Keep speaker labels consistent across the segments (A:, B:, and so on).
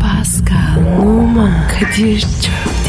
A: Pascal, Oman, Kadir çok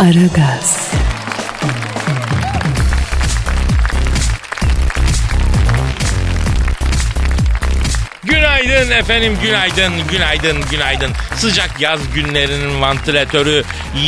A: Aragaz,
B: Günaydın efendim, günaydın, günaydın, günaydın. Sıcak yaz günlerinin vantilatörü,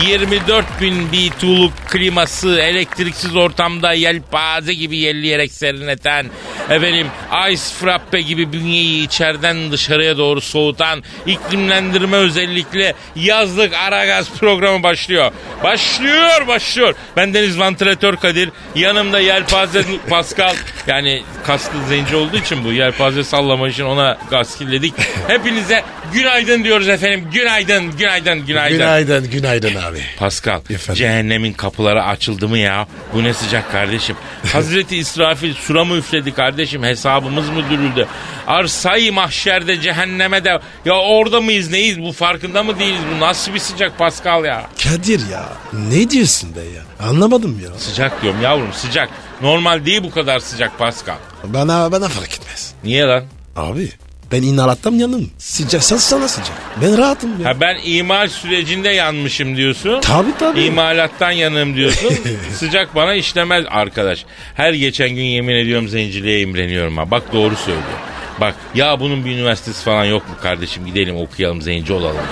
B: 24 bin BTU'luk kliması, elektriksiz ortamda yelpaze gibi yelleyerek serinleten, efendim ice frappe gibi bünyeyi içeriden dışarıya doğru soğutan, iklimlendirme özellikle yazlık Aragaz programı başlıyor. Başlıyor, başlıyor. Ben Deniz Vantilatör Kadir, yanımda yelpaze Pascal. Yani kaslı zenci olduğu için bu yelpaze sallama için ona gaskilledik. Hepinize günaydın diyoruz efendim. Günaydın, günaydın, günaydın.
C: Günaydın, günaydın abi.
B: Pascal,
C: Efendim?
B: cehennemin kapıları açıldı mı ya? Bu ne sıcak kardeşim. Hazreti İsrafil sura mı üfledi kardeşim? Hesabımız mı dürüldü? Arsayı mahşerde cehenneme de... Ya orada mıyız neyiz? Bu farkında mı değiliz? Bu nasıl bir sıcak Pascal ya?
C: Kadir ya. Ne diyorsun be ya? Anlamadım ya.
B: Sıcak diyorum yavrum sıcak. Normal değil bu kadar sıcak Pascal.
C: Bana bana fark etmez.
B: Niye lan?
C: Abi ben inalattım yanım. Sıcak sen sana sıcak. Ben rahatım ya.
B: Ha ben imal sürecinde yanmışım diyorsun.
C: Tabii tabii.
B: İmalattan yanığım diyorsun. Sıcak bana işlemez arkadaş. Her geçen gün yemin ediyorum zenciliğe imreniyorum ha. Bak doğru söylüyor. Bak ya bunun bir üniversitesi falan yok mu kardeşim gidelim okuyalım zenci olalım ya.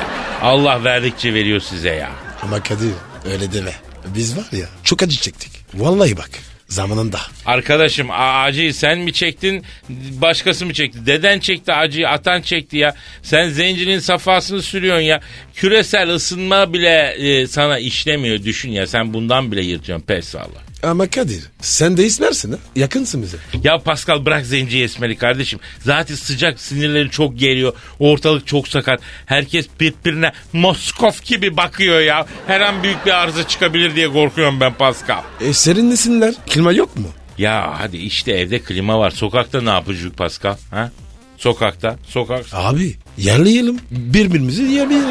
B: Allah verdikçe veriyor size ya.
C: Ama Kadir öyle deme. Biz var ya çok acı çektik. Vallahi bak zamanında.
B: Arkadaşım a- acıyı sen mi çektin başkası mı çekti? Deden çekti acıyı atan çekti ya. Sen zencinin safhasını sürüyorsun ya. Küresel ısınma bile e, sana işlemiyor düşün ya. Sen bundan bile yırtıyorsun pes valla.
C: Ama Kadir sen de ismersin ha. Yakınsın bize.
B: Ya Pascal bırak zenciyi esmeli kardeşim. Zaten sıcak sinirleri çok geliyor. Ortalık çok sakat. Herkes birbirine Moskov gibi bakıyor ya. Her an büyük bir arıza çıkabilir diye korkuyorum ben Pascal.
C: E serinlesinler. Klima yok mu?
B: Ya hadi işte evde klima var. Sokakta ne yapacak Pascal? Ha? Sokakta, sokak.
C: Abi yerleyelim. Birbirimizi yiyelim.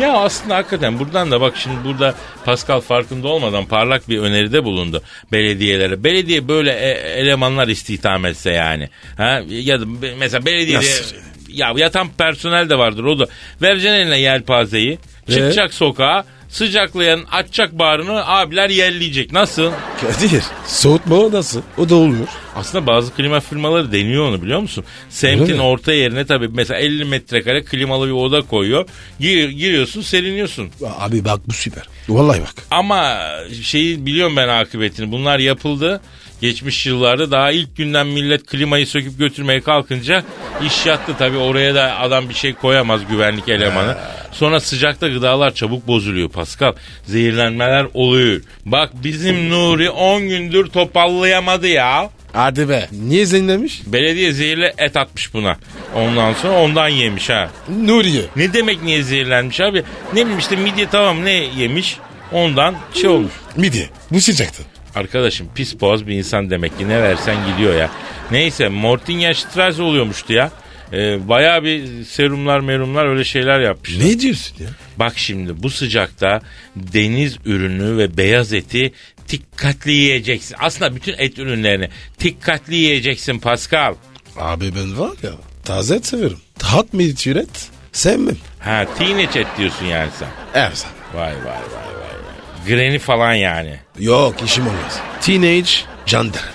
B: Ya aslında hakikaten buradan da bak şimdi burada Pascal farkında olmadan parlak bir öneride bulundu belediyelere. Belediye böyle e- elemanlar istihdam etse yani. Ha? Ya da be- mesela belediyede
C: Nasıl?
B: ya yatan personel de vardır o da. Vereceksin eline yelpazeyi. Çıkacak sokağa sıcaklayan açacak bağrını abiler yerleyecek. Nasıl?
C: Kadir soğutma odası o da olmuyor.
B: Aslında bazı klima firmaları deniyor onu biliyor musun? Semtin
C: mi?
B: orta yerine tabii mesela 50 metrekare klimalı bir oda koyuyor. Gir- giriyorsun seriniyorsun.
C: Abi bak bu süper. Vallahi bak.
B: Ama şeyi biliyorum ben akıbetini. Bunlar yapıldı. Geçmiş yıllarda daha ilk günden millet klimayı söküp götürmeye kalkınca iş yattı tabii. Oraya da adam bir şey koyamaz güvenlik elemanı. Sonra sıcakta gıdalar çabuk bozuluyor Pascal. Zehirlenmeler oluyor. Bak bizim Nuri 10 gündür topallayamadı ya.
C: Hadi be. Niye zenlemiş?
B: Belediye zehirli et atmış buna. Ondan sonra ondan yemiş ha.
C: Nuriye.
B: Ne demek niye zehirlenmiş abi? Ne bileyim işte midye tamam ne yemiş. Ondan şey olmuş.
C: Midye. Bu sıcaktı.
B: Arkadaşım pis boğaz bir insan demek ki ne versen gidiyor ya. Neyse Mortinya Strauss oluyormuştu ya. Ee, bayağı bir serumlar merumlar öyle şeyler yapmış.
C: Ne diyorsun ya?
B: Bak şimdi bu sıcakta deniz ürünü ve beyaz eti dikkatli yiyeceksin. Aslında bütün et ürünlerini dikkatli yiyeceksin Pascal.
C: Abi ben var ya taze et severim. Tahat mı hiç üret? Sevmem.
B: Ha teenage et diyorsun yani sen.
C: Evet.
B: Vay vay vay vay. vay. Granny falan yani.
C: Yok işim olmaz. Teenage Jandarma.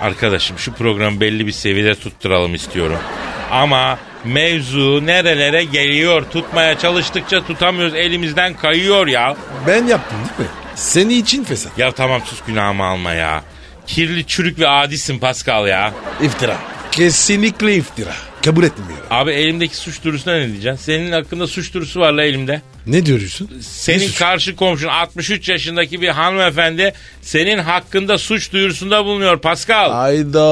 B: Arkadaşım şu programı belli bir seviyede tutturalım istiyorum. Ama mevzu nerelere geliyor? Tutmaya çalıştıkça tutamıyoruz. Elimizden kayıyor ya.
C: Ben yaptım değil mi? Seni için fesat.
B: Ya tamam sus günahımı alma ya. Kirli, çürük ve adisin Pascal ya.
C: İftira. Kesinlikle iftira. Kabul etmiyorum.
B: Abi elimdeki suç duyurusuna ne diyeceksin? Senin hakkında suç duyurusu var la elimde.
C: Ne diyorsun? Ne
B: Senin
C: suç?
B: karşı komşun 63 yaşındaki bir hanımefendi senin hakkında suç duyurusunda bulunuyor Pascal.
C: Hayda.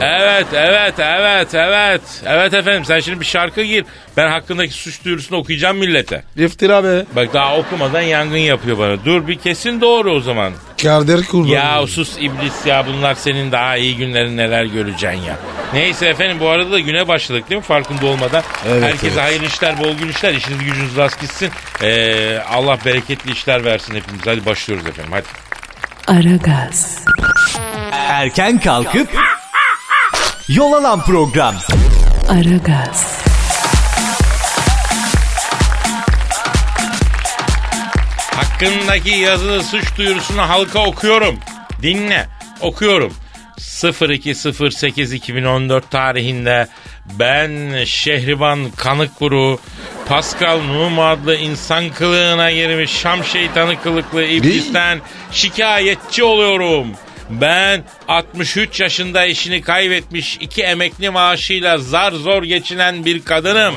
B: Evet, evet, evet, evet. Evet efendim sen şimdi bir şarkı gir. Ben hakkındaki suç duyurusunu okuyacağım millete.
C: İftira be.
B: Bak daha okumadan yangın yapıyor bana. Dur bir kesin doğru o zaman.
C: Kader kurban.
B: Ya sus iblis ya bunlar senin daha iyi günlerin neler göreceksin ya. Neyse efendim bu arada da güne başladık değil mi farkında olmadan.
C: Evet,
B: Herkese
C: evet.
B: hayırlı işler, bol gün işler. İşiniz gücünüz rast gitsin. Ee, Allah bereketli işler versin hepimize. Hadi başlıyoruz efendim hadi.
A: Aragaz,
D: Erken kalkıp yol alan program.
A: Aragaz,
B: Hakkındaki yazılı suç duyurusunu halka okuyorum. Dinle. Okuyorum. 02.08.2014 tarihinde ben Şehriban Kanıkkuru Pascal Numa adlı insan kılığına girmiş Şam şeytanı kılıklı iblisten şikayetçi oluyorum. Ben 63 yaşında işini kaybetmiş iki emekli maaşıyla zar zor geçinen bir kadınım.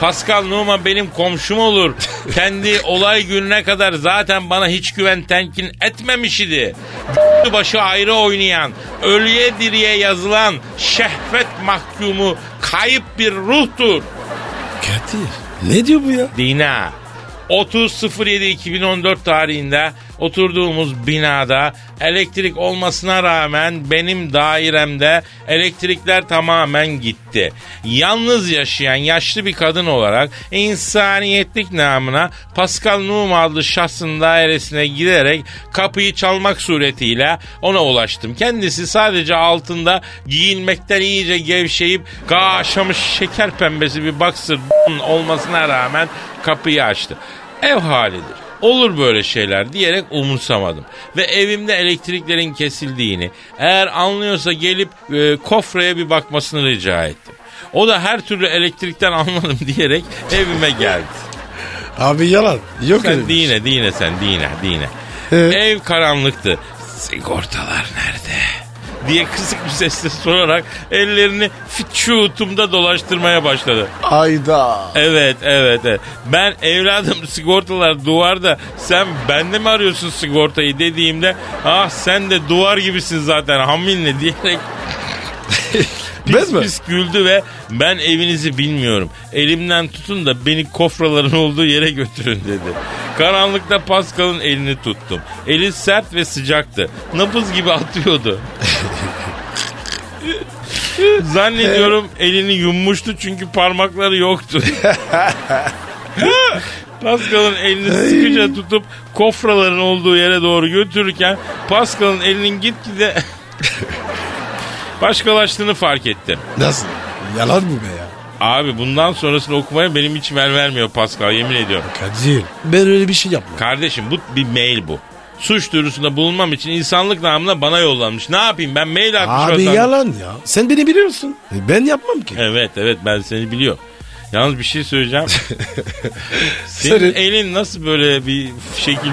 B: Pascal Numa benim komşum olur. Kendi olay gününe kadar zaten bana hiç güven tenkin etmemiş idi. başı ayrı oynayan, ölüye diriye yazılan şehvet mahkumu kayıp bir ruhtur.
C: Kadir. Ne diyor bu ya?
B: Dina. 30.07.2014 tarihinde oturduğumuz binada elektrik olmasına rağmen benim dairemde elektrikler tamamen gitti. Yalnız yaşayan yaşlı bir kadın olarak insaniyetlik namına Pascal Numa adlı şahsın dairesine girerek kapıyı çalmak suretiyle ona ulaştım. Kendisi sadece altında giyinmekten iyice gevşeyip gaşamış şeker pembesi bir boxer olmasına rağmen kapıyı açtı. Ev halidir. Olur böyle şeyler diyerek umursamadım. Ve evimde elektriklerin kesildiğini, eğer anlıyorsa gelip e, kofraya bir bakmasını rica ettim. O da her türlü elektrikten anladım diyerek evime geldi.
C: Abi yalan. Yok
B: Sen
C: öyle bir şey.
B: dine dine sen dine dine.
C: Evet.
B: Ev karanlıktı. Sigortalar nerede? diye kısık bir sesle sorarak ellerini fiçutumda dolaştırmaya başladı.
C: Hayda.
B: Evet evet evet. Ben evladım sigortalar duvarda sen bende mi arıyorsun sigortayı dediğimde ah sen de duvar gibisin zaten haminle diyerek
C: Bez mi?
B: pis güldü ve ben evinizi bilmiyorum. Elimden tutun da beni kofraların olduğu yere götürün dedi. Karanlıkta Pascal'ın elini tuttum. Eli sert ve sıcaktı. Napız gibi atıyordu. Zannediyorum elini yummuştu çünkü parmakları yoktu. Pascal'ın elini sıkıca tutup kofraların olduğu yere doğru götürürken Pascal'ın elinin gitgide başkalaştığını fark ettim.
C: Nasıl? Yalan bu be ya?
B: Abi bundan sonrasını okumaya benim içim el vermiyor Pascal yemin ediyorum.
C: Kadir. Ben öyle bir şey yapmam.
B: Kardeşim bu bir mail bu. Suç duyurusunda bulunmam için insanlık namına bana yollanmış. Ne yapayım ben mail atmış
C: Abi
B: olsam-
C: yalan ya. Sen beni biliyorsun. E, Ben yapmam ki.
B: Evet evet ben seni biliyorum. Yalnız bir şey söyleyeceğim. Senin
C: Söyle.
B: elin nasıl böyle bir şekil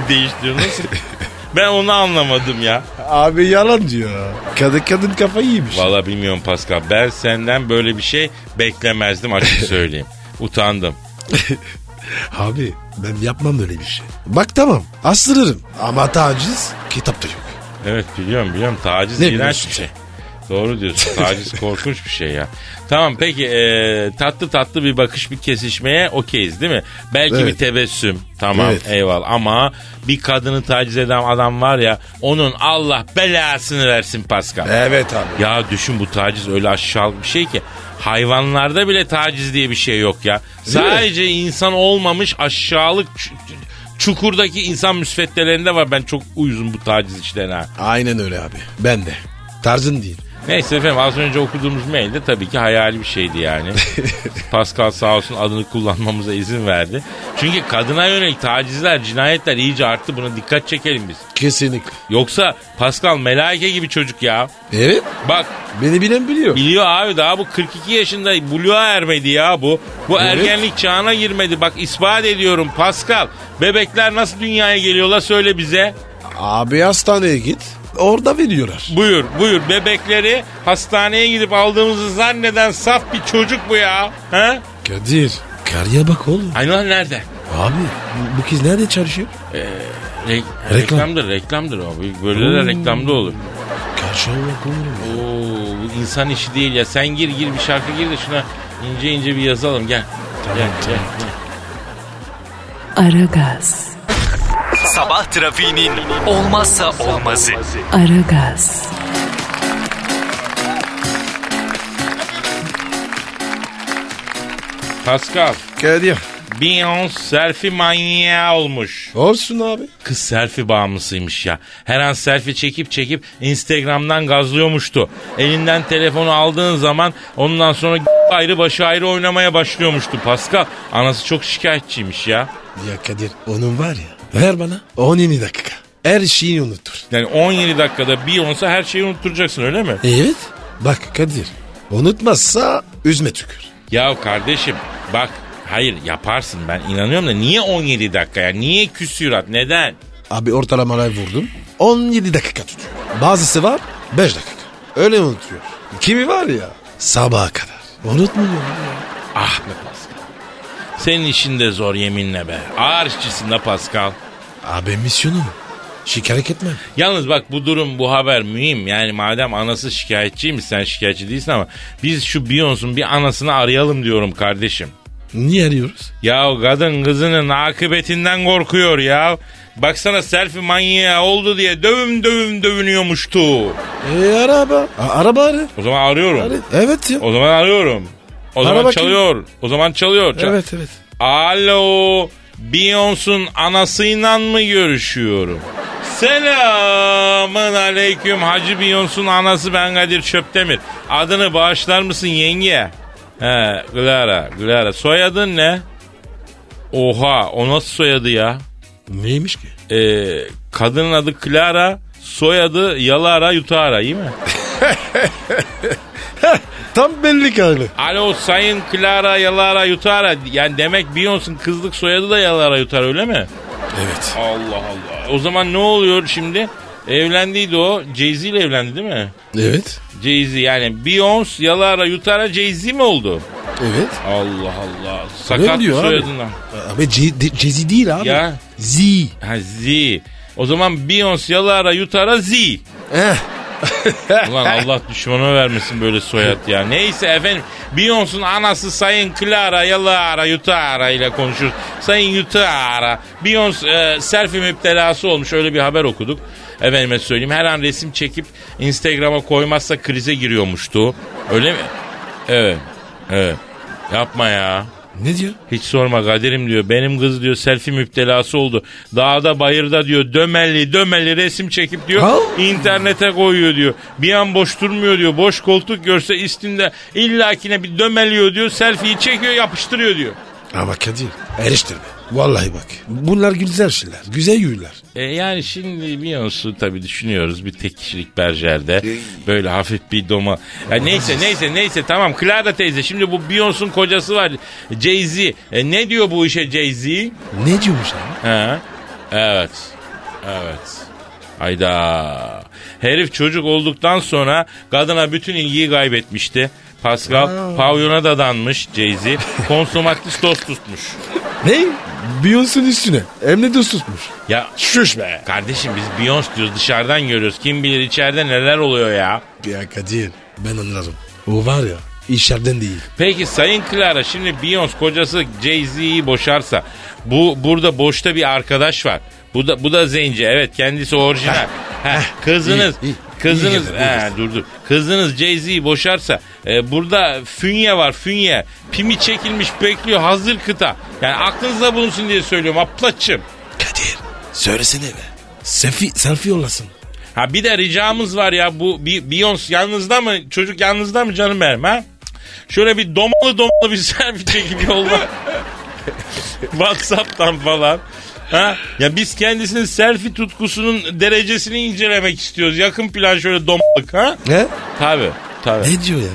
B: değiştiriyor? Nasıl? ben onu anlamadım ya.
C: Abi yalan diyor. Kadın kadın kafayı yemiş.
B: Valla bilmiyorum Pascal. Ben senden böyle bir şey beklemezdim açık söyleyeyim. Utandım.
C: Abi ben yapmam öyle bir şey. Bak tamam astırırım ama taciz kitapta yok.
B: Evet biliyorum biliyorum taciz
C: Ne
B: iğrenç
C: biliyorsun
B: bir şey. Doğru diyorsun taciz korkunç bir şey ya. Tamam peki e, tatlı tatlı bir bakış bir kesişmeye okeyiz değil mi? Belki bir
C: Evet.
B: tebessüm tamam
C: Evet.
B: eyvallah ama bir kadını taciz eden adam var ya onun Allah belasını versin Pascal.
C: Evet abi.
B: Ya düşün bu taciz öyle aşağılık bir şey ki. Hayvanlarda bile taciz diye bir şey yok ya.
C: mi?
B: Sadece insan olmamış aşağılık ç- ç- çukurdaki insan müsveddelerinde var. Ben çok uyuzum bu taciz işlerine. ha.
C: Aynen öyle abi. Ben de. Tarzın değil.
B: Neyse efendim az önce okuduğumuz mail de tabii ki hayali bir şeydi yani. Pascal sağ olsun adını kullanmamıza izin verdi. Çünkü kadına yönelik tacizler, cinayetler iyice arttı. Buna dikkat çekelim biz.
C: Kesinlikle.
B: Yoksa Pascal melaike gibi çocuk ya.
C: Evet.
B: Bak
C: Beni bilen biliyor.
B: Biliyor abi daha bu 42 yaşında buluğa ermedi ya bu. Bu
C: Evet.
B: ergenlik çağına girmedi. Bak ispat ediyorum Pascal. Bebekler nasıl dünyaya geliyorlar söyle bize.
C: Abi hastaneye git. orada veriyorlar.
B: Buyur buyur bebekleri hastaneye gidip aldığımızı zanneden saf bir çocuk bu ya. Ha?
C: Kadir. Karıya bak oğlum.
B: Aynur nerede?
C: Abi bu, bu kız nerede çalışıyor?
B: Re-
C: Reklam.
B: Reklamdır reklamdır abi. Böyle de reklamda olur.
C: Karşıya bak oğlum.
B: Oo, bu insan işi değil ya. Sen gir gir bir şarkı gir de şuna ince ince bir yazalım gel. gel, gel, gel.
A: Aragaz,
D: Sabah trafiğinin olmazsa olmazı.
A: Aragaz,
B: Pascal,
C: Kadir.
B: Beyoncé selfie manyağı olmuş.
C: Olsun abi.
B: Kız selfie bağımlısıymış ya. Her an selfie çekip çekip Instagram'dan gazlıyormuştu. Elinden telefonu aldığın zaman ondan sonra ayrı başı ayrı oynamaya başlıyormuştu Pascal. Anası çok şikayetçiymiş ya.
C: Ya Kadir onun var ya. Ver bana 17 dakika. Her şeyi unutur.
B: Yani 17 dakikada Beyoncé her şeyi unutturacaksın öyle mi?
C: Evet. Bak Kadir. Unutmazsa üzme tükür.
B: Ya kardeşim bak hayır yaparsın ben inanıyorum da niye 17 dakika ya? Niye küsürat neden?
C: Abi ortalamalar vurdum. 17 dakika tutuyor. Bazısı var 5 dakika. Öyle unutuyor. Kimi var ya sabaha kadar. Unutmuyor.
B: Ah be Pascal. Senin işin de zor yeminle be. Ağır işçisin de Pascal.
C: Abi misyonum. Şikayet etme.
B: Yalnız bak bu durum bu haber mühim. Yani madem anası şikayetçiymiş sen şikayetçi değilsin ama biz şu Beyoncé'un bir anasını arayalım diyorum kardeşim.
C: Niye arıyoruz?
B: Ya kadın kızının akıbetinden korkuyor ya. Baksana selfie manyağı oldu diye dövüm dövüm dövünüyormuştu.
C: E araba. A- araba arı.
B: O zaman arıyorum.
C: Arı. Evet ya.
B: O zaman arıyorum. O
C: Ara
B: zaman
C: bakayım.
B: çalıyor. O zaman çalıyor. Çal-
C: Evet evet.
B: Alo. Beyoncé'un anasıyla mı görüşüyorum? Selamın aleyküm Hacı Beyoncé'un anası ben Kadir Çöptemir. Adını bağışlar mısın yenge? He Glara, Glara. Soyadın ne? Oha o nasıl soyadı ya?
C: Neymiş ki?
B: Ee, kadının adı Clara, soyadı Yalara Yutara iyi mi?
C: Tam belli karlı.
B: Alo Sayın Clara Yalara Yutara. Yani demek Beyoncé'un kızlık soyadı da Yalara Yutara öyle mi?
C: Evet.
B: Allah Allah. O zaman ne oluyor şimdi? Evlendiydi o. Jay-Z ile evlendi değil mi?
C: Evet.
B: Jay-Z yani Beyoncé, Yalara, Yutara Jay-Z mi oldu?
C: Evet.
B: Allah Allah.
C: Öyle
B: Sakat bir
C: diyor abi.
B: soyadından.
C: Abi Ce- De- Cezi değil abi.
B: Ya.
C: Z.
B: Ha Z. O zaman Beyoncé, Yalara, Yutara Z.
C: Eh.
B: Ulan Allah düşmanı vermesin böyle soyad ya. Neyse efendim. Beyoncé'un anası Sayın Clara Yalara Yutara ile konuşur. Sayın Yutara. Beyoncé e, selfie müptelası olmuş. Öyle bir haber okuduk. Efendime söyleyeyim. Her an resim çekip Instagram'a koymazsa krize giriyormuştu. Öyle mi? Evet. Evet. Yapma ya.
C: Ne diyor?
B: Hiç sorma Kadir'im diyor. Benim kız diyor selfie müptelası oldu. Dağda bayırda diyor dömelli dömelli resim çekip diyor
C: Ha?
B: internete koyuyor diyor. Bir an boş durmuyor diyor. Boş koltuk görse üstünde illakine bir dömeliyor diyor. Selfie'yi çekiyor yapıştırıyor diyor.
C: Ama Kadir eriştirme. Vallahi bak. Bunlar güzel şeyler. Güzel yürürler.
B: E yani şimdi Beyoncé tabii düşünüyoruz bir tek kişilik berjerde. Böyle hafif bir doma. Ya neyse neyse neyse tamam Clara teyze şimdi bu Beyoncé'un kocası var Jay-Z. E ne diyor bu işe Jay-Z?
C: Ne diyormuş abi?
B: He. Evet. Evet. Hayda. Herif çocuk olduktan sonra kadına bütün ilgiyi kaybetmişti. Pascal pavyona da danmış Jay-Z. Konsomatris dost tutmuş.
C: Ne? Beyoncé'nin üstüne. Hem de dostmuş.
B: Ya
C: Şuş be.
B: kardeşim biz Beyoncé diyoruz dışarıdan görüyoruz. Kim bilir içeride neler oluyor ya.
C: Ya Kadir ben anlarım. O var ya içeriden değil.
B: Peki Sayın Clara şimdi Beyoncé kocası Jay-Z'yi boşarsa bu burada boşta bir arkadaş var. Bu da bu da zenci. Evet kendisi orijinal. Ha, kızınız
C: iyi, iyi. İyi
B: kızınız
C: girdin, iyi
B: ha, dur dur. Kızınız Jay-Z'yi boşarsa e, burada fünye var fünye. Pimi çekilmiş bekliyor hazır kıta. Yani aklınızda bulunsun diye söylüyorum aplaçım.
C: Kadir söylesene be. Selfie, selfie yollasın.
B: Ha bir de ricamız var ya bu Bi- Beyoncé yalnızda mı çocuk yalnızda mı canım benim ha? Şöyle bir domalı domalı bir selfie çekip yolla. Whatsapp'tan falan. Ha? Ya biz kendisinin selfie tutkusunun derecesini incelemek istiyoruz. Yakın plan şöyle domalık ha?
C: Ne?
B: Tabi. Tabi.
C: Ne diyor ya?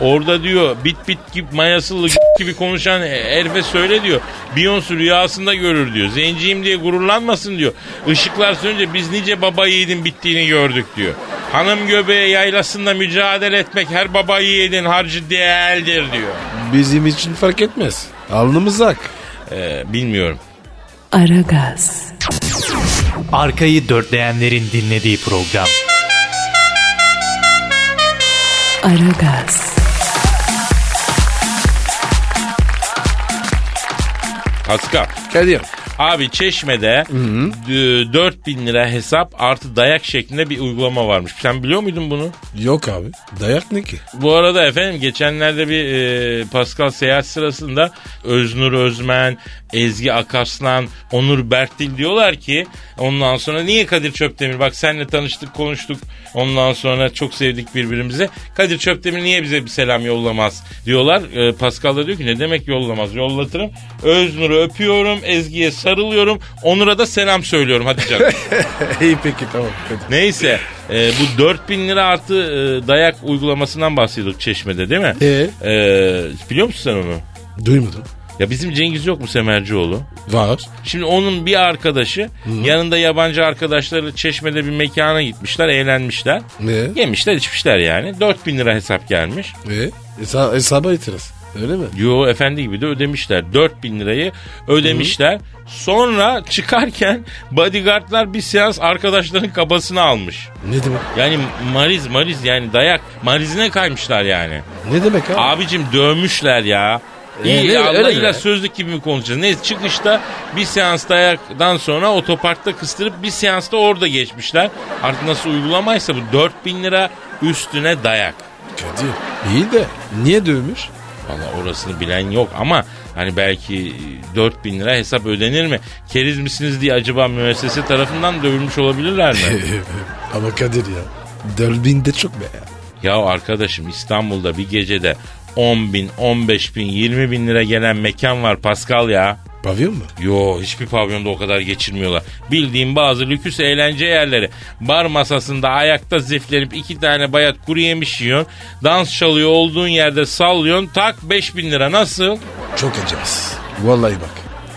B: Orada diyor bit bit gibi mayasılı gibi konuşan herife söyle diyor. Beyoncé rüyasında görür diyor. Zenciyim diye gururlanmasın diyor. Işıklar sönünce biz nice baba yiğidin bittiğini gördük diyor. Hanım göbeğe yaylasında mücadele etmek her baba yiğidin harcı değildir diyor.
C: Bizim için fark etmez. Alnımız ak.
B: Ee, bilmiyorum.
A: Aragaz,
D: Arkayı dörtleyenlerin dinlediği program.
A: Aragaz,
B: Pascal.
C: Kadir.
B: Abi Çeşme'de d- 4000 lira hesap artı dayak şeklinde bir uygulama varmış. Sen biliyor muydun bunu?
C: Yok abi. Dayak ne ki?
B: Bu arada efendim geçenlerde bir e, Pascal seyahat sırasında Öznur Özmen, Ezgi Akarslan, Onur Bertil diyorlar ki ondan sonra niye Kadir Çöptemir bak senle tanıştık konuştuk ondan sonra çok sevdik birbirimizi. Kadir Çöptemir niye bize bir selam yollamaz diyorlar. E, Pascal da diyor ki ne demek yollamaz yollatırım. Öznur'u öpüyorum, Ezgi'ye sarılıyorum, Onur'a da selam söylüyorum hadi canım.
C: İyi peki tamam. Kadir.
B: Neyse e, bu 4000 lira artı e, dayak uygulamasından bahsediyorduk Çeşme'de değil mi?
C: Ee?
B: E, biliyor musun sen onu?
C: Duymadım.
B: Ya bizim Cengiz yok mu Semercioğlu?
C: Var.
B: Şimdi onun bir arkadaşı yanında yabancı arkadaşları Çeşme'de bir mekana gitmişler eğlenmişler.
C: Ne?
B: Yemişler içmişler yani 4000 lira hesap gelmiş.
C: Ee? Hesa hesaba itiraz. Öyle mi?
B: Yo efendi gibi de ödemişler. 4000 lirayı ödemişler. Sonra çıkarken bodyguardlar bir seans arkadaşların kabasını almış.
C: Ne demek?
B: Yani mariz mariz yani dayak marizine kaymışlar yani.
C: Ne demek abi?
B: Abicim dövmüşler ya. İyi
C: ne-
B: Allah
C: Ee, öyle
B: ile
C: mi?
B: sözlük gibi mi konuşacağız? Neyse çıkışta bir seans dayaktan sonra otoparkta kıstırıp bir seansta orada geçmişler. Artık nasıl uygulamaysa bu 4000 lira üstüne dayak.
C: Kadir. İyi de niye dövmüş?
B: Valla orasını bilen yok ama hani belki 4000 lira hesap ödenir mi? Keriz misiniz diye acaba müessese tarafından dövülmüş olabilirler mi?
C: E, Ama Kadir ya. Dörbin de çok be ya.
B: Ya arkadaşım İstanbul'da bir gecede 10 bin, 15 bin, 20 bin lira gelen mekan var Pascal ya.
C: Pavyon mu?
B: Yo hiçbir pavyonda o kadar geçirmiyorlar. Bildiğim bazı lüküs eğlence yerleri. Bar masasında ayakta ziflenip iki tane bayat kuru yemiş yiyorsun. Dans çalıyor olduğun yerde sallıyorsun. Tak 5 bin lira nasıl?
C: Çok acımasız. Vallahi bak.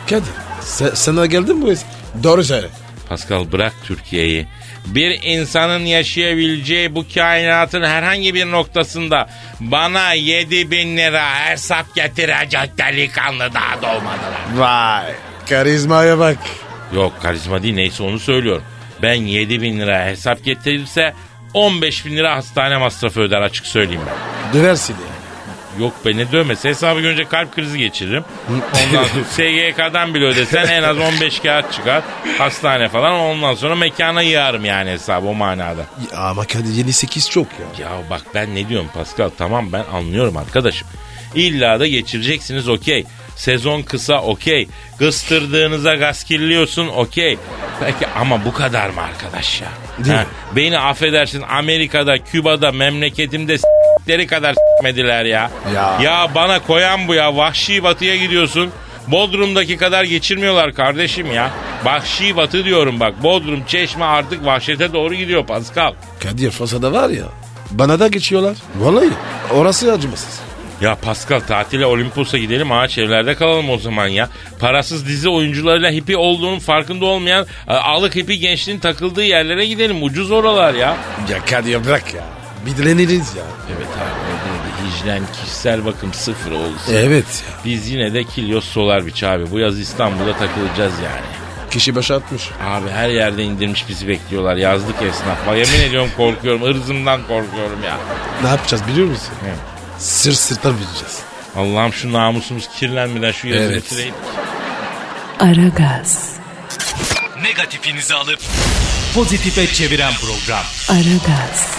C: Kadir. Sen, sana geldin mi bu hesap? Doğru söyle.
B: Pascal bırak Türkiye'yi. Bir insanın yaşayabileceği bu kainatın herhangi bir noktasında bana 7 bin lira hesap getirecek delikanlı daha doğmadılar.
C: Vay. Karizmaya bak.
B: Yok karizma değil neyse onu söylüyorum. Ben 7 bin lira hesap getirirse 15 bin lira hastane masrafı öder açık söyleyeyim ben.
C: Döversin ya.
B: Yok be ne dövmesi hesabı görünce kalp krizi geçiririm. Ondan sonra SGK'dan bile ödesen en az 15 kağıt çıkar. Hastane falan ondan sonra mekana yığarım yani hesabı o manada.
C: Ya Ama Kadir 7-8 çok ya.
B: Ya bak ben ne diyorum Pascal tamam ben anlıyorum arkadaşım. İlla da geçireceksiniz okey. Sezon kısa okey. Kıstırdığınıza gaskilliyorsun okey. Peki ama bu kadar mı arkadaş ya?
C: Değil
B: Ha,
C: mi?
B: beni affedersin Amerika'da, Küba'da, memleketimde s**leri kadar s**mediler ya.
C: Ya.
B: Ya bana koyan bu ya. Vahşi batıya gidiyorsun. Bodrum'daki kadar geçirmiyorlar kardeşim ya. Vahşi batı diyorum bak. Bodrum, Çeşme artık vahşete doğru gidiyor Pascal.
C: Kadir Fasa'da var ya. Bana da geçiyorlar. Vallahi. Orası acımasız.
B: Ya Pascal tatile Olimpos'a gidelim ağaç evlerde kalalım o zaman ya. Parasız dizi oyuncularıyla hippi olduğunun farkında olmayan e, alık hippi gençliğin takıldığı yerlere gidelim. Ucuz oralar ya.
C: Ya Kadir bırak ya. Bidleniriz ya.
B: Evet abi orada da hijyen kişisel bakım sıfır olsun.
C: Evet ya.
B: Biz yine de Kilyos Solar Beach abi. Bu yaz İstanbul'da takılacağız yani.
C: Kişi başı atmış.
B: Abi her yerde indirmiş bizi bekliyorlar. Yazlık esnaf. var. Yemin ediyorum korkuyorum. Irzımdan korkuyorum ya.
C: Ne yapacağız biliyor musun?
B: Evet.
C: Sır sırta bineceğiz.
B: Allah'ım şu namusumuz kirlenmeden şu yazı
C: Evet.
B: bitireyim.
A: Aragaz,
D: Negatifinizi alıp pozitife çeviren program.
A: Aragaz,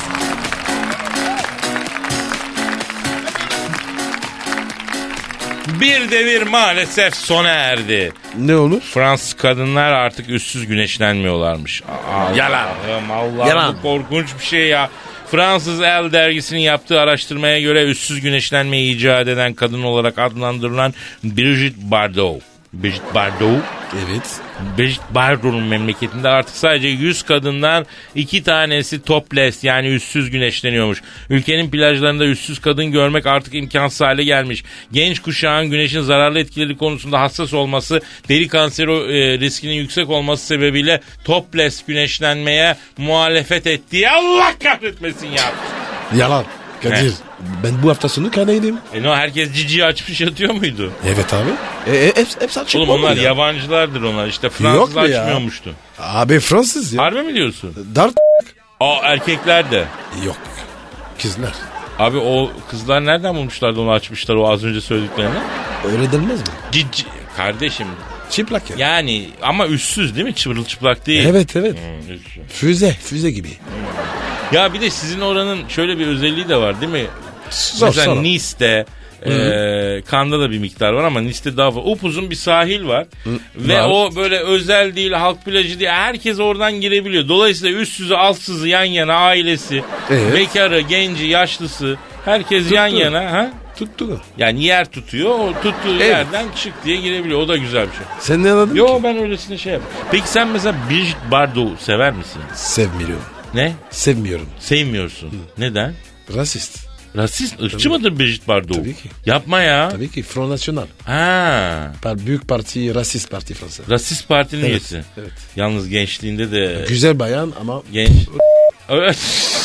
B: Bir devir maalesef sona erdi.
C: Ne olur?
B: Fransız kadınlar artık üstsüz güneşlenmiyorlarmış. Aa, Yalan. Allah
C: Yalan.
B: bu korkunç bir şey ya. Fransız El dergisinin yaptığı araştırmaya göre üstsüz güneşlenmeyi icat eden kadın olarak adlandırılan Brigitte Bardot. Brigitte Bardot.
C: Evet.
B: Brigitte Bardot'un memleketinde artık sadece 100 kadından 2 tanesi topless yani üstsüz güneşleniyormuş. Ülkenin plajlarında üstsüz kadın görmek artık imkansız hale gelmiş. Genç kuşağın güneşin zararlı etkileri konusunda hassas olması, deri kanseri e, riskinin yüksek olması sebebiyle topless güneşlenmeye muhalefet ettiği Allah kahretmesin ya.
C: Yalan. Kadir. Ben bu hafta sonu kaneydim.
B: E ne o, herkes ciciyi açmış yatıyor muydu?
C: Evet abi. E, e, hepsi, hepsi açık
B: Oğlum
C: olmuyor
B: onlar
C: ya.
B: yabancılardır onlar işte
C: Yok
B: Fransızlar
C: be ya.
B: açmıyormuştu.
C: Abi Fransız ya.
B: Harbi mi diyorsun?
C: Dart
B: Aa erkekler de.
C: yok. Kızlar.
B: Abi o kızlar nereden bulmuşlardı onu açmışlar o az önce söylediklerini?
C: Öyle denmez mi?
B: Cici. Kardeşim
C: Çıplak ya.
B: yani ama üstsüz değil mi? Çırılçıplak değil.
C: Evet evet.
B: Hmm, üstsüz.
C: Füze. Füze gibi.
B: Ya bir de sizin oranın şöyle bir özelliği de var değil mi?
C: Zor,
B: Mesela
C: zor.
B: Nice'de e, Kanda da bir miktar var ama Nice'de daha fazla. Upuzun bir sahil var. Ve
C: var.
B: o böyle özel değil, halk plajı değil. Herkes oradan girebiliyor. Dolayısıyla üstsüzü, altsızı yan yana ailesi,
C: Evet.
B: bekarı, genci, yaşlısı. Herkes yan yana. Ha?
C: Tuttu da.
B: Yani yer tutuyor. O tuttuğu yerden çık diye girebiliyor. O da güzel bir şey.
C: Sen ne anladın?
B: Yo ben öylesine şey yapıyorum. Peki sen mesela Brigitte Bardot'u sever misin?
C: Sevmiyorum.
B: Ne?
C: Sevmiyorum.
B: Sevmiyorsun. Neden?
C: Rasist.
B: Rasist, ırkçı mıdır Brigitte Bardot?
C: Tabii ki.
B: Yapma ya.
C: Tabii ki Front National.
B: Ha.
C: Par- Büyük parti, rasist parti Fransa.
B: Rasist partinin üyesi.
C: evet.
B: Yalnız gençliğinde de
C: Güzel bayan ama
B: genç. Evet.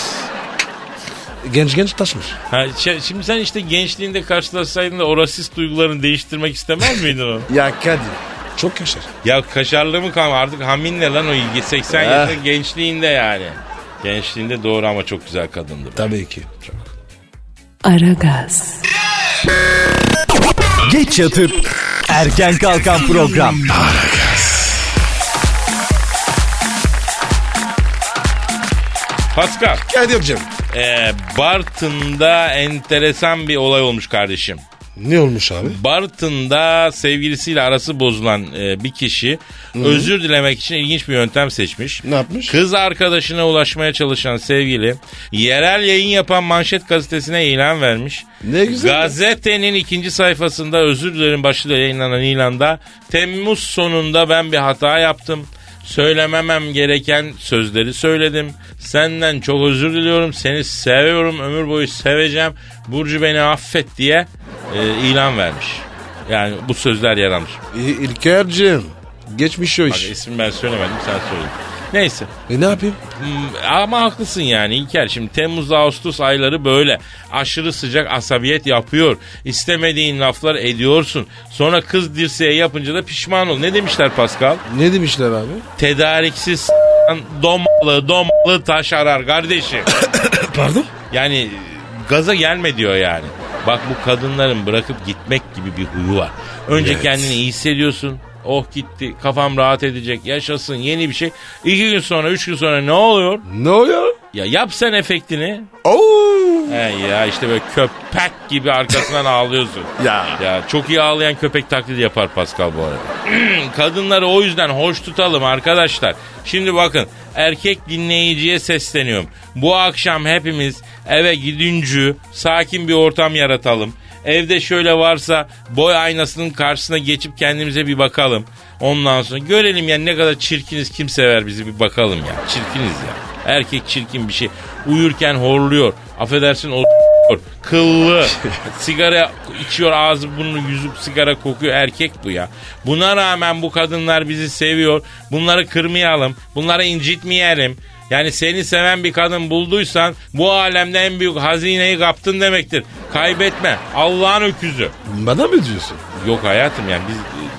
C: genç genç taşmış.
B: Ha, şi- şimdi sen işte gençliğinde karşılaşsaydın da o rasist duygularını değiştirmek istemez miydin onu?
C: Ya Kadir. Çok yaşar.
B: ya kaşarlı mı kalma artık hamin ne lan o ilgi 80
C: Ah.
B: yaşında gençliğinde yani. Gençliğinde doğru ama çok güzel kadındı.
C: Tabii ki. Çok.
A: Aragaz,
D: Geç yatıp erken kalkan program.
B: Pascal,
C: Kadir'cim.
B: e, Bartın'da enteresan bir olay olmuş kardeşim.
C: Ne olmuş abi?
B: Bartın'da sevgilisiyle arası bozulan e, bir kişi özür dilemek için ilginç bir yöntem seçmiş.
C: Ne yapmış?
B: Kız arkadaşına ulaşmaya çalışan sevgili yerel yayın yapan manşet gazetesine ilan vermiş.
C: Ne güzel.
B: Gazetenin ikinci sayfasında özür dilerim başlığıyla yayınlanan ilanda Temmuz sonunda ben bir hata yaptım. Söylememem gereken sözleri söyledim. Senden çok özür diliyorum. Seni seviyorum. Ömür boyu seveceğim. Burcu beni affet diye e, ilan vermiş. Yani bu sözler yer almış.
C: İ- İlker'cim. Geçmiş o
B: Bak
C: iş.
B: ismini ben söylemedim sen söyledin. Neyse.
C: E ne yapayım?
B: Hmm, ama haklısın yani İlker. Şimdi Temmuz Ağustos ayları böyle. Aşırı sıcak asabiyet yapıyor. İstemediğin laflar ediyorsun. Sonra kız dirseğe yapınca da pişman ol. Ne demişler Pascal?
C: Ne demişler abi?
B: Tedariksiz s**tan domalı domalı taş arar kardeşim.
C: Pardon?
B: Yani e, gaza gelme diyor yani. Bak bu kadınların bırakıp gitmek gibi bir huyu var. Önce
C: Evet.
B: kendini iyi hissediyorsun. Oh gitti kafam rahat edecek yaşasın yeni bir şey. İki gün sonra üç gün sonra ne oluyor?
C: Ne oluyor?
B: Ya yap sen efektini.
C: Oo.
B: He ya işte böyle köpek gibi arkasından ağlıyorsun.
C: Ya.
B: Ya çok iyi ağlayan köpek taklidi yapar Pascal bu arada. Kadınları o yüzden hoş tutalım arkadaşlar. Şimdi bakın erkek dinleyiciye sesleniyorum. Bu akşam hepimiz eve gidince sakin bir ortam yaratalım. Evde şöyle varsa boy aynasının karşısına geçip kendimize bir bakalım. Ondan sonra görelim yani ne kadar çirkiniz kim sever bizi bir bakalım ya. Çirkiniz ya. Erkek çirkin bir şey. Uyurken horluyor. Affedersin o Kıllı. Kıllı. sigara içiyor ağzı burnu yüzü sigara kokuyor erkek bu ya. Buna rağmen bu kadınlar bizi seviyor. Bunları kırmayalım. Bunları incitmeyelim. Yani seni seven bir kadın bulduysan bu alemde en büyük hazineyi kaptın demektir. Kaybetme. Allah'ın öküzü.
C: Bana mı diyorsun?
B: Yok hayatım yani biz,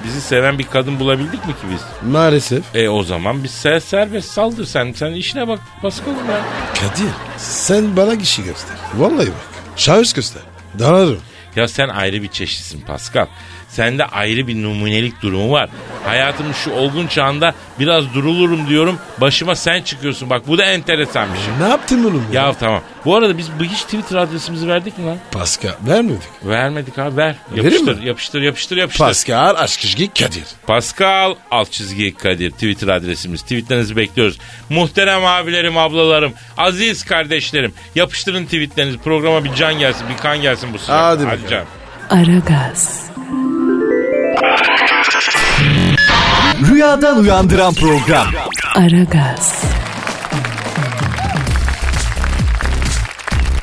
B: bizi seven bir kadın bulabildik mi ki biz?
C: Maalesef.
B: E o zaman biz ser- serbest saldır sen. Sen işine bak Paskal'ım ya.
C: Kadir sen bana kişi göster. Vallahi bak. Şahıs göster. Dararım.
B: Ya sen ayrı bir çeşitsin Pascal. Sende ayrı bir numunelik durumu var. Hayatımın şu olgun çağında biraz durulurum diyorum. Başıma sen çıkıyorsun. Bak bu da enteresan bir şey.
C: Ne yaptın bunu? be?
B: Ya tamam. Bu arada biz bu hiç Twitter adresimizi verdik mi lan?
C: Pascal vermedik.
B: Vermedik abi ver.
C: Verin
B: Yapıştır
C: mi?
B: yapıştır yapıştır yapıştır.
C: Pascal Aşkışgi Kadir.
B: Pascal alt çizgi Kadir Twitter adresimiz. Tweetlerinizi bekliyoruz. Muhterem abilerim, ablalarım, aziz kardeşlerim. Yapıştırın tweetlerinizi. Programa bir can gelsin, bir kan gelsin bu sıcakta.
C: Hadi
B: Hadi
C: bakalım.
B: canım.
A: Aragaz,
D: Rüyadan uyandıran program.
A: Aragaz,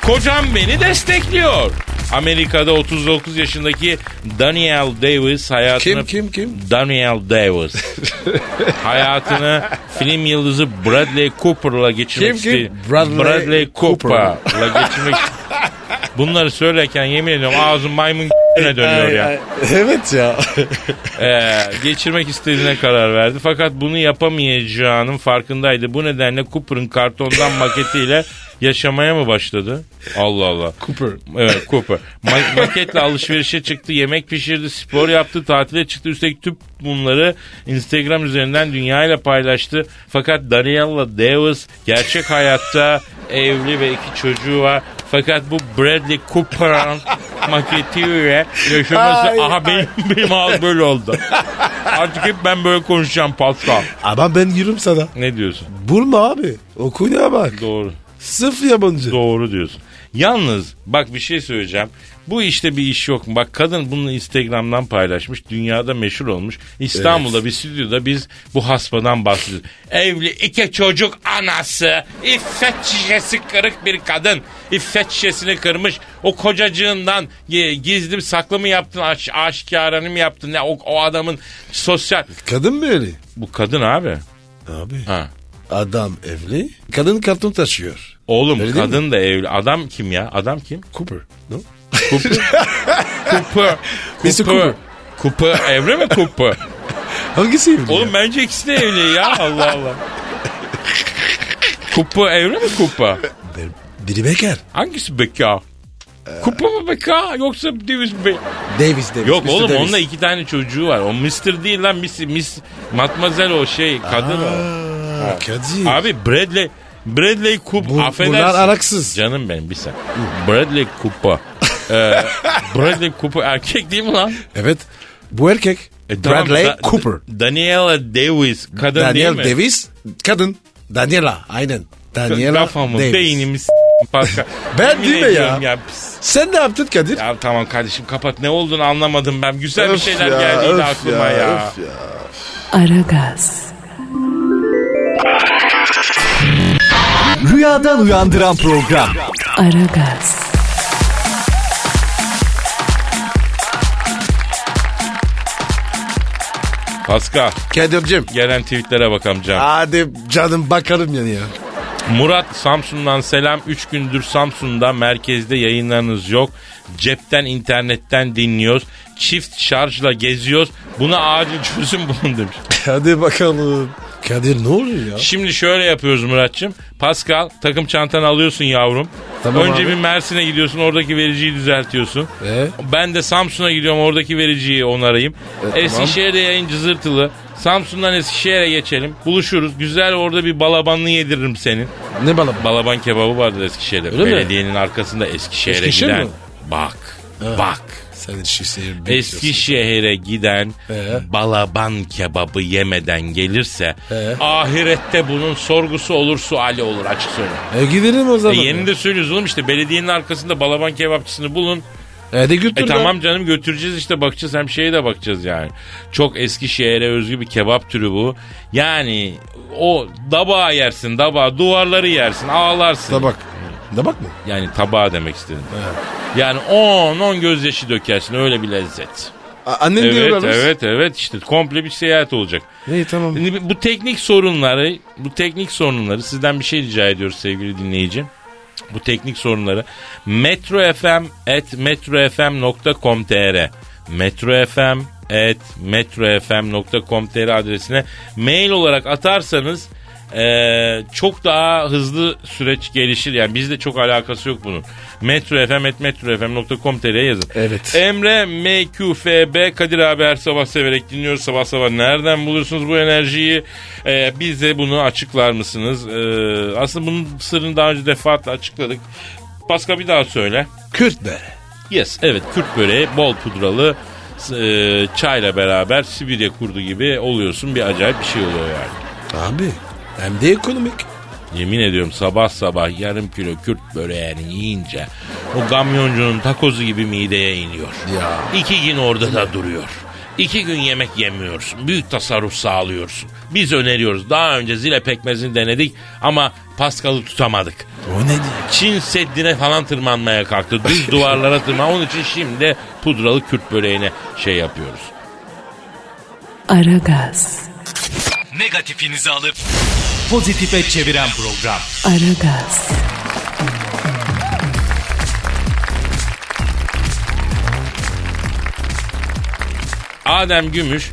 B: Kocam beni destekliyor. Amerika'da 39 yaşındaki Daniel Davis
C: Kim
B: hayatını...
C: kim kim?
B: Daniel Davis. hayatını film yıldızı Bradley Cooper'la geçirmek
C: Kim, kim?
B: istiyor.
C: Bradley
B: Cooper'la geçirmek Bunları söylerken yemin ediyorum ağzım maymun dönüyor ya.
C: Evet ya.
B: Ee, geçirmek istediğine karar verdi. Fakat bunu yapamayacağının farkındaydı. Bu nedenle Cooper'ın kartondan maketiyle yaşamaya mı başladı? Allah Allah.
C: Cooper.
B: Evet Cooper. Ma- maketle alışverişe çıktı, yemek pişirdi, spor yaptı, tatile çıktı. Üstelik tüm bunları Instagram üzerinden dünyayla paylaştı. Fakat Daniella Davis gerçek hayatta evli ve iki çocuğu var. Fakat bu Bradley Cooper'ın maketiyle yaşaması...
C: Ay,
B: aha benim, benim ağız böyle oldu. Artık hep ben böyle konuşacağım Pascal.
C: Ama ben giriyorum sana.
B: Ne diyorsun?
C: Bulma abi. Okuyuna bak.
B: Doğru.
C: Sıfır yabancı.
B: Doğru diyorsun. Yalnız bak bir şey söyleyeceğim. Bu işte bir iş yok mu? Bak kadın bunu Instagram'dan paylaşmış. Dünyada meşhur olmuş. İstanbul'da bir stüdyoda biz bu hasbadan bahsediyoruz. Evli iki çocuk anası. İffet şişesi kırık bir kadın. İffet şişesini kırmış. O kocacığından e, gizli mi, saklı mı yaptın? Aş, aşikaranı mı yaptın? Ya, o, o adamın sosyal...
C: Kadın mı öyle?
B: Bu kadın abi.
C: Abi.
B: Ha.
C: Adam evli. Kadın karton taşıyor.
B: Oğlum
C: Öyle değil mi?
B: kadın da evli. Adam kim ya? Adam kim?
C: Cooper. No?
B: Kupu. Kupu.
C: Mr.
B: Kupu.
C: Cooper.
B: Kupu. Evre mi kupu?
C: Hangisi evli?
B: Oğlum bence ikisi de evli ya. Allah Allah. Kupu evre mi kupa?
C: Ben... Biri bekar.
B: Hangisi beka?
C: Ee.
B: Kupa mı beka yoksa Davis mi? beka?
C: Davis Davis.
B: Yok
C: Mr.
B: oğlum
C: Davis.
B: onunla iki tane çocuğu var. O Mr. değil lan Miss, Miss Matmazel o şey kadın o.
C: Aa, Kadir.
B: Abi Bradley Bradley Cooper
C: Bu-
B: affedersin.
C: bunlar araksız.
B: Canım benim bir saniye. Bradley Cooper. Ee, Bradley Cooper erkek değil mi lan?
C: Evet. Bu erkek.
B: E tamam,
C: Bradley
B: da-
C: Cooper.
B: Daniela Davis kadın değil
C: Daniel
B: mi?
C: Davis. Kadın. Daniela. Aynen. Daniela
B: Kafamı,
C: Davis.
B: beynimi s- Pascal.
C: Ben
B: Yemin
C: değil mi ya?
B: ediyorum pis.
C: Sen ne yaptın Kadir?
B: Ya tamam kardeşim kapat ne olduğunu anlamadım ben. Güzel bir
C: Öf
B: şeyler
C: ya,
B: geldi yine
C: öf
B: aklıma ya.
C: öf ya.
A: Aragaz,
D: Rüyadan uyandıran program.
A: Aragaz,
B: Pascal
C: Kadir'cim.
B: gelen tweetlere bak amcam.
C: Hadi canım bakalım yani ya.
B: Murat Samsun'dan selam. 3 gündür Samsun'da merkezde yayınlarınız yok. Cepten internetten dinliyoruz. Çift şarjla geziyoruz. Buna acil çözüm bulun demiş.
C: Hadi bakalım. Kadir ne oluyor ya?
B: Şimdi şöyle yapıyoruz Muratçım. Pascal takım çantanı alıyorsun yavrum.
C: Tamam
B: Önce
C: abi.
B: bir Mersin'e gidiyorsun oradaki vericiyi düzeltiyorsun.
C: Ee?
B: Ben de Samsun'a gidiyorum oradaki vericiyi
C: E,
B: onarayım. Eskişehir'de yayın cızırtılı. Samsun'dan Eskişehir'e geçelim. Buluşuruz. Güzel orada bir balabanını yediririm senin.
C: Ne bana
B: Balaban kebabı vardır Eskişehir'de.
C: Öyle mi?
B: Belediyenin arkasında Eskişehir'e
C: Eskişehir
B: giden.
C: mi?
B: Bak. Bak.
C: Sen şey Eskişehir
B: Eskişehir'e giden
C: Ee?
B: balaban kebabı yemeden gelirse
C: Ee?
B: ahirette bunun sorgusu olur suali olur açık söyle.
C: E gidelim o
B: E,
C: zaman.
B: yeni de söylüyoruz oğlum işte belediyenin arkasında balaban kebapçısını bulun.
C: E de götür
B: E
C: lan.
B: tamam canım götüreceğiz işte bakacağız hem şeye de bakacağız yani. Çok Eskişehir'e özgü bir kebap türü bu. Yani o daba yersin daba duvarları yersin ağlarsın.
C: Da bak. Da bak mı?
B: Yani tabağa demek istedim. Yani 10-10 gözyaşı dökersin öyle bir lezzet.
C: A- annem
B: Evet
C: diyorlar.
B: evet evet işte komple bir seyahat olacak.
C: İyi tamam.
B: Şimdi bu teknik sorunları bu teknik sorunları sizden bir şey rica ediyoruz sevgili dinleyici. Bu teknik sorunları metrofm at metrofm.com.tr metrofm at metrofm.com.tr adresine mail olarak atarsanız eee, çok daha hızlı süreç gelişir. Yani bizde çok alakası yok bunun. metrofm at metrofm.com.tr'ye yazın. E,
C: Evet.
B: Emre MQFB Kadir abi her sabah severek dinliyoruz. Sabah sabah nereden bulursunuz bu enerjiyi? Ee, bize bunu açıklar mısınız? Ee, aslında bunun sırrını daha önce defaatle açıkladık. Paska bir daha söyle.
C: Kürt be.
B: Yes evet Kürt böreği bol pudralı e, çayla beraber Sibirya kurdu gibi oluyorsun. Bir acayip bir şey oluyor yani.
C: Abi hem de ekonomik.
B: Yemin ediyorum sabah sabah yarım kilo Kürt böreğini yiyince o kamyoncunun takozu gibi mideye iniyor.
C: Ya.
B: İki gün orada da duruyor. İki gün yemek yemiyorsun. Büyük tasarruf sağlıyorsun. Biz öneriyoruz. Daha önce zile pekmezini denedik ama Paskal'ı tutamadık.
C: O ne diyor?
B: Çin Seddi'ne falan tırmanmaya kalktı. Düz duvarlara tırman. Onun için şimdi pudralı Kürt böreğine şey yapıyoruz.
A: Aragaz,
D: Negatifinizi alıp pozitife çeviren program.
A: Aragaz,
B: Adem Gümüş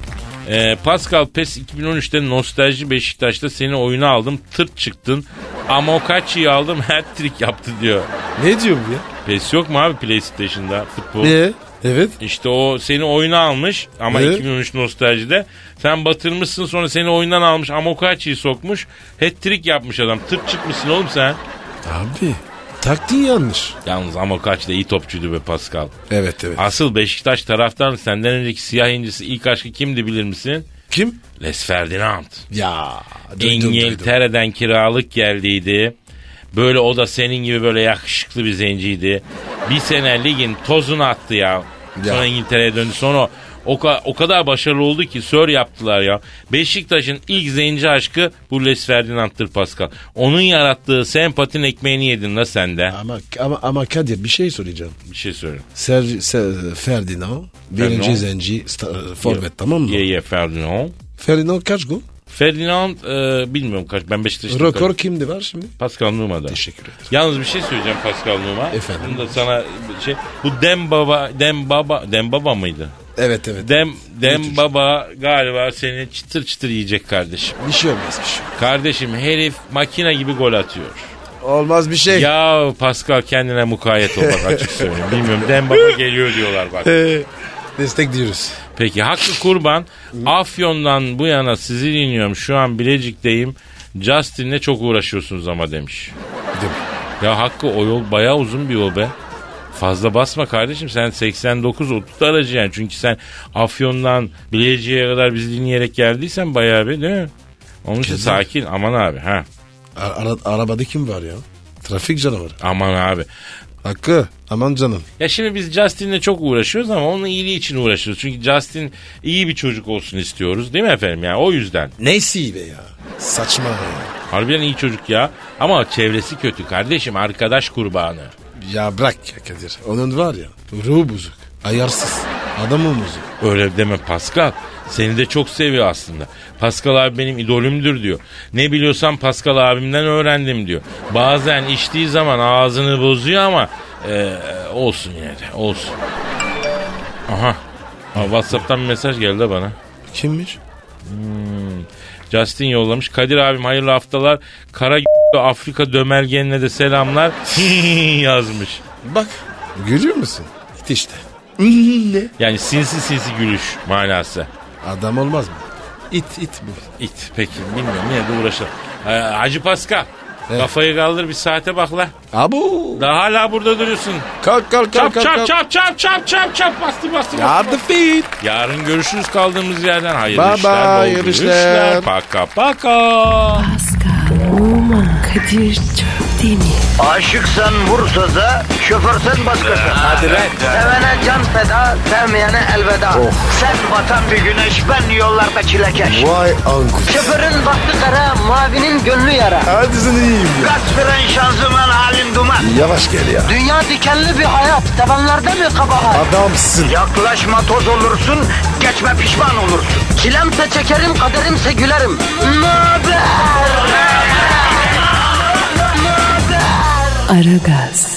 B: e, Pascal PES 2013'te Nostalji Beşiktaş'ta seni oyuna aldım tırt çıktın. Amokachi'yi aldım hat-trick yaptı diyor.
C: Ne diyor bu ya?
B: PES yok mu abi PlayStation'da futbol?
C: Ne? Evet.
B: İşte o seni oyuna almış ama
C: Ee?
B: 2013 nostaljide. Sen batırmışsın sonra seni oyundan almış Amokachi'yi sokmuş. Hat-trick yapmış adam. Tırt çıkmışsın oğlum sen.
C: Abi taktiği yanlış.
B: Yalnız Amokachi de iyi topçuydu be Pascal.
C: Evet evet.
B: Asıl Beşiktaş taraftan senden önceki siyah incisi ilk aşkı kimdi bilir misin?
C: Kim?
B: Les Ferdinand.
C: Ya. duydum, duydum.
B: İngiltere'den kiralık geldiydi. Böyle o da senin gibi böyle yakışıklı bir zenciydi. Bir sene ligin tozunu attı ya. Sonra
C: Ya.
B: İngiltere'ye döndü. Sonra o, ka- o kadar başarılı oldu ki sör yaptılar ya. Beşiktaş'ın ilk zenci aşkı bu Les Ferdinand'tır Pascal. Onun yarattığı sempatin ekmeğini yedin la sen de.
C: Ama, ama, ama Kadir bir şey söyleyeceğim.
B: Bir şey söyle.
C: Ser, Ser- Ferdinand. Birinci zenci sta- e, forvet tamam mı?
B: Ye ye Ferdinand.
C: Ferdinand kaç gol?
B: Ferdinand e, bilmiyorum kaç. Ben Beşiktaş'ta.
C: Rekor kimdi var şimdi?
B: Pascal Numa'da.
C: Teşekkür ederim.
B: Yalnız bir şey söyleyeceğim Pascal Numa.
C: Efendim?
B: Bunu da sana bir şey. Bu Dem Baba, Dem Baba, Dem Baba mıydı?
C: Evet evet.
B: Dem Dem
C: çocuk?
B: Baba galiba seni çıtır çıtır yiyecek kardeşim.
C: bir şey olmaz bir şey.
B: Kardeşim herif makine gibi gol atıyor.
C: Olmaz bir şey.
B: Ya Pascal kendine mukayyet ol bak açık söyleyeyim. Bilmiyorum Dem Baba geliyor diyorlar bak.
C: Ee, destek diyoruz.
B: Peki Hakkı Kurban Afyon'dan bu yana sizi dinliyorum. Şu an Bilecik'teyim. Justin'le çok uğraşıyorsunuz ama demiş.
C: Değil mi?
B: Ya Hakkı o yol bayağı uzun bir yol be. Fazla basma kardeşim sen 89 30 aracı yani. Çünkü sen Afyon'dan Bilecik'e kadar bizi dinleyerek geldiysen bayağı bir değil mi? Onun için
C: Kesin.
B: sakin aman abi ha.
C: Ara- ara- arabada kim var ya? Trafik canavarı.
B: Aman abi.
C: Hakkı aman canım.
B: Ya şimdi biz Justin'le çok uğraşıyoruz ama onun iyiliği için uğraşıyoruz. Çünkü Justin iyi bir çocuk olsun istiyoruz değil mi efendim ya o yüzden.
C: Neyse be ya. Saçma ya.
B: Harbiden iyi çocuk ya. Ama çevresi kötü kardeşim arkadaş kurbanı.
C: Ya bırak ya Kadir. Onun var ya ruhu bozuk. Ayarsız. Adamı bozuk.
B: Öyle deme Pascal. Seni de çok seviyor aslında. Pascal abi benim idolümdür diyor. Ne biliyorsam Pascal abimden öğrendim diyor. Bazen içtiği zaman ağzını bozuyor ama e, olsun yine de olsun. Aha. Aa, Whatsapp'tan bir mesaj geldi de bana.
C: Kimmiş?
B: Justin yollamış. Kadir abim hayırlı haftalar. Kara Afrika dömergenine de selamlar. yazmış.
C: Bak. Görüyor musun? Git işte. ne?
B: Yani sinsi sinsi gülüş manası.
C: Adam olmaz mı? İt it bu.
B: İt peki bilmiyorum yine de uğraşalım. Ee, Hacı Pascal
C: Evet.
B: kafayı kaldır bir saate bak la.
C: Abu.
B: Daha hala burada duruyorsun.
C: Kalk kalk
B: Çap
C: kalk kalk.
B: çap
C: kalk.
B: çap çap çap çap çap bastı bastı. bastı.
C: Yardım fit.
B: Yarın görüşürüz kaldığımız yerden. Hayırlı
C: Bye
B: işler,
C: bye,
B: bol
C: hayırlı
B: gülüşler.
C: işler.
B: Paka paka.
A: Pascal, Oman, Kadir çok değil mi?
E: Aşıksan vursa da, şoförsen başkasın. Hadi Sevene can feda, sevmeyene elveda. Sen batan bir güneş, ben yollarda çilekeş.
C: Vay anku.
E: Şoförün baktı kara, mavinin gönlü yara.
C: Hadi sen iyiyim ya.
E: Kasperen şanzıman halin duman.
C: Yavaş gel ya.
E: Dünya dikenli bir hayat, sevenlerde mi kabahar?
C: Adamsın.
E: Yaklaşma toz olursun, geçme pişman olursun. Çilemse çekerim, kaderimse gülerim. Möber!
A: Aragaz.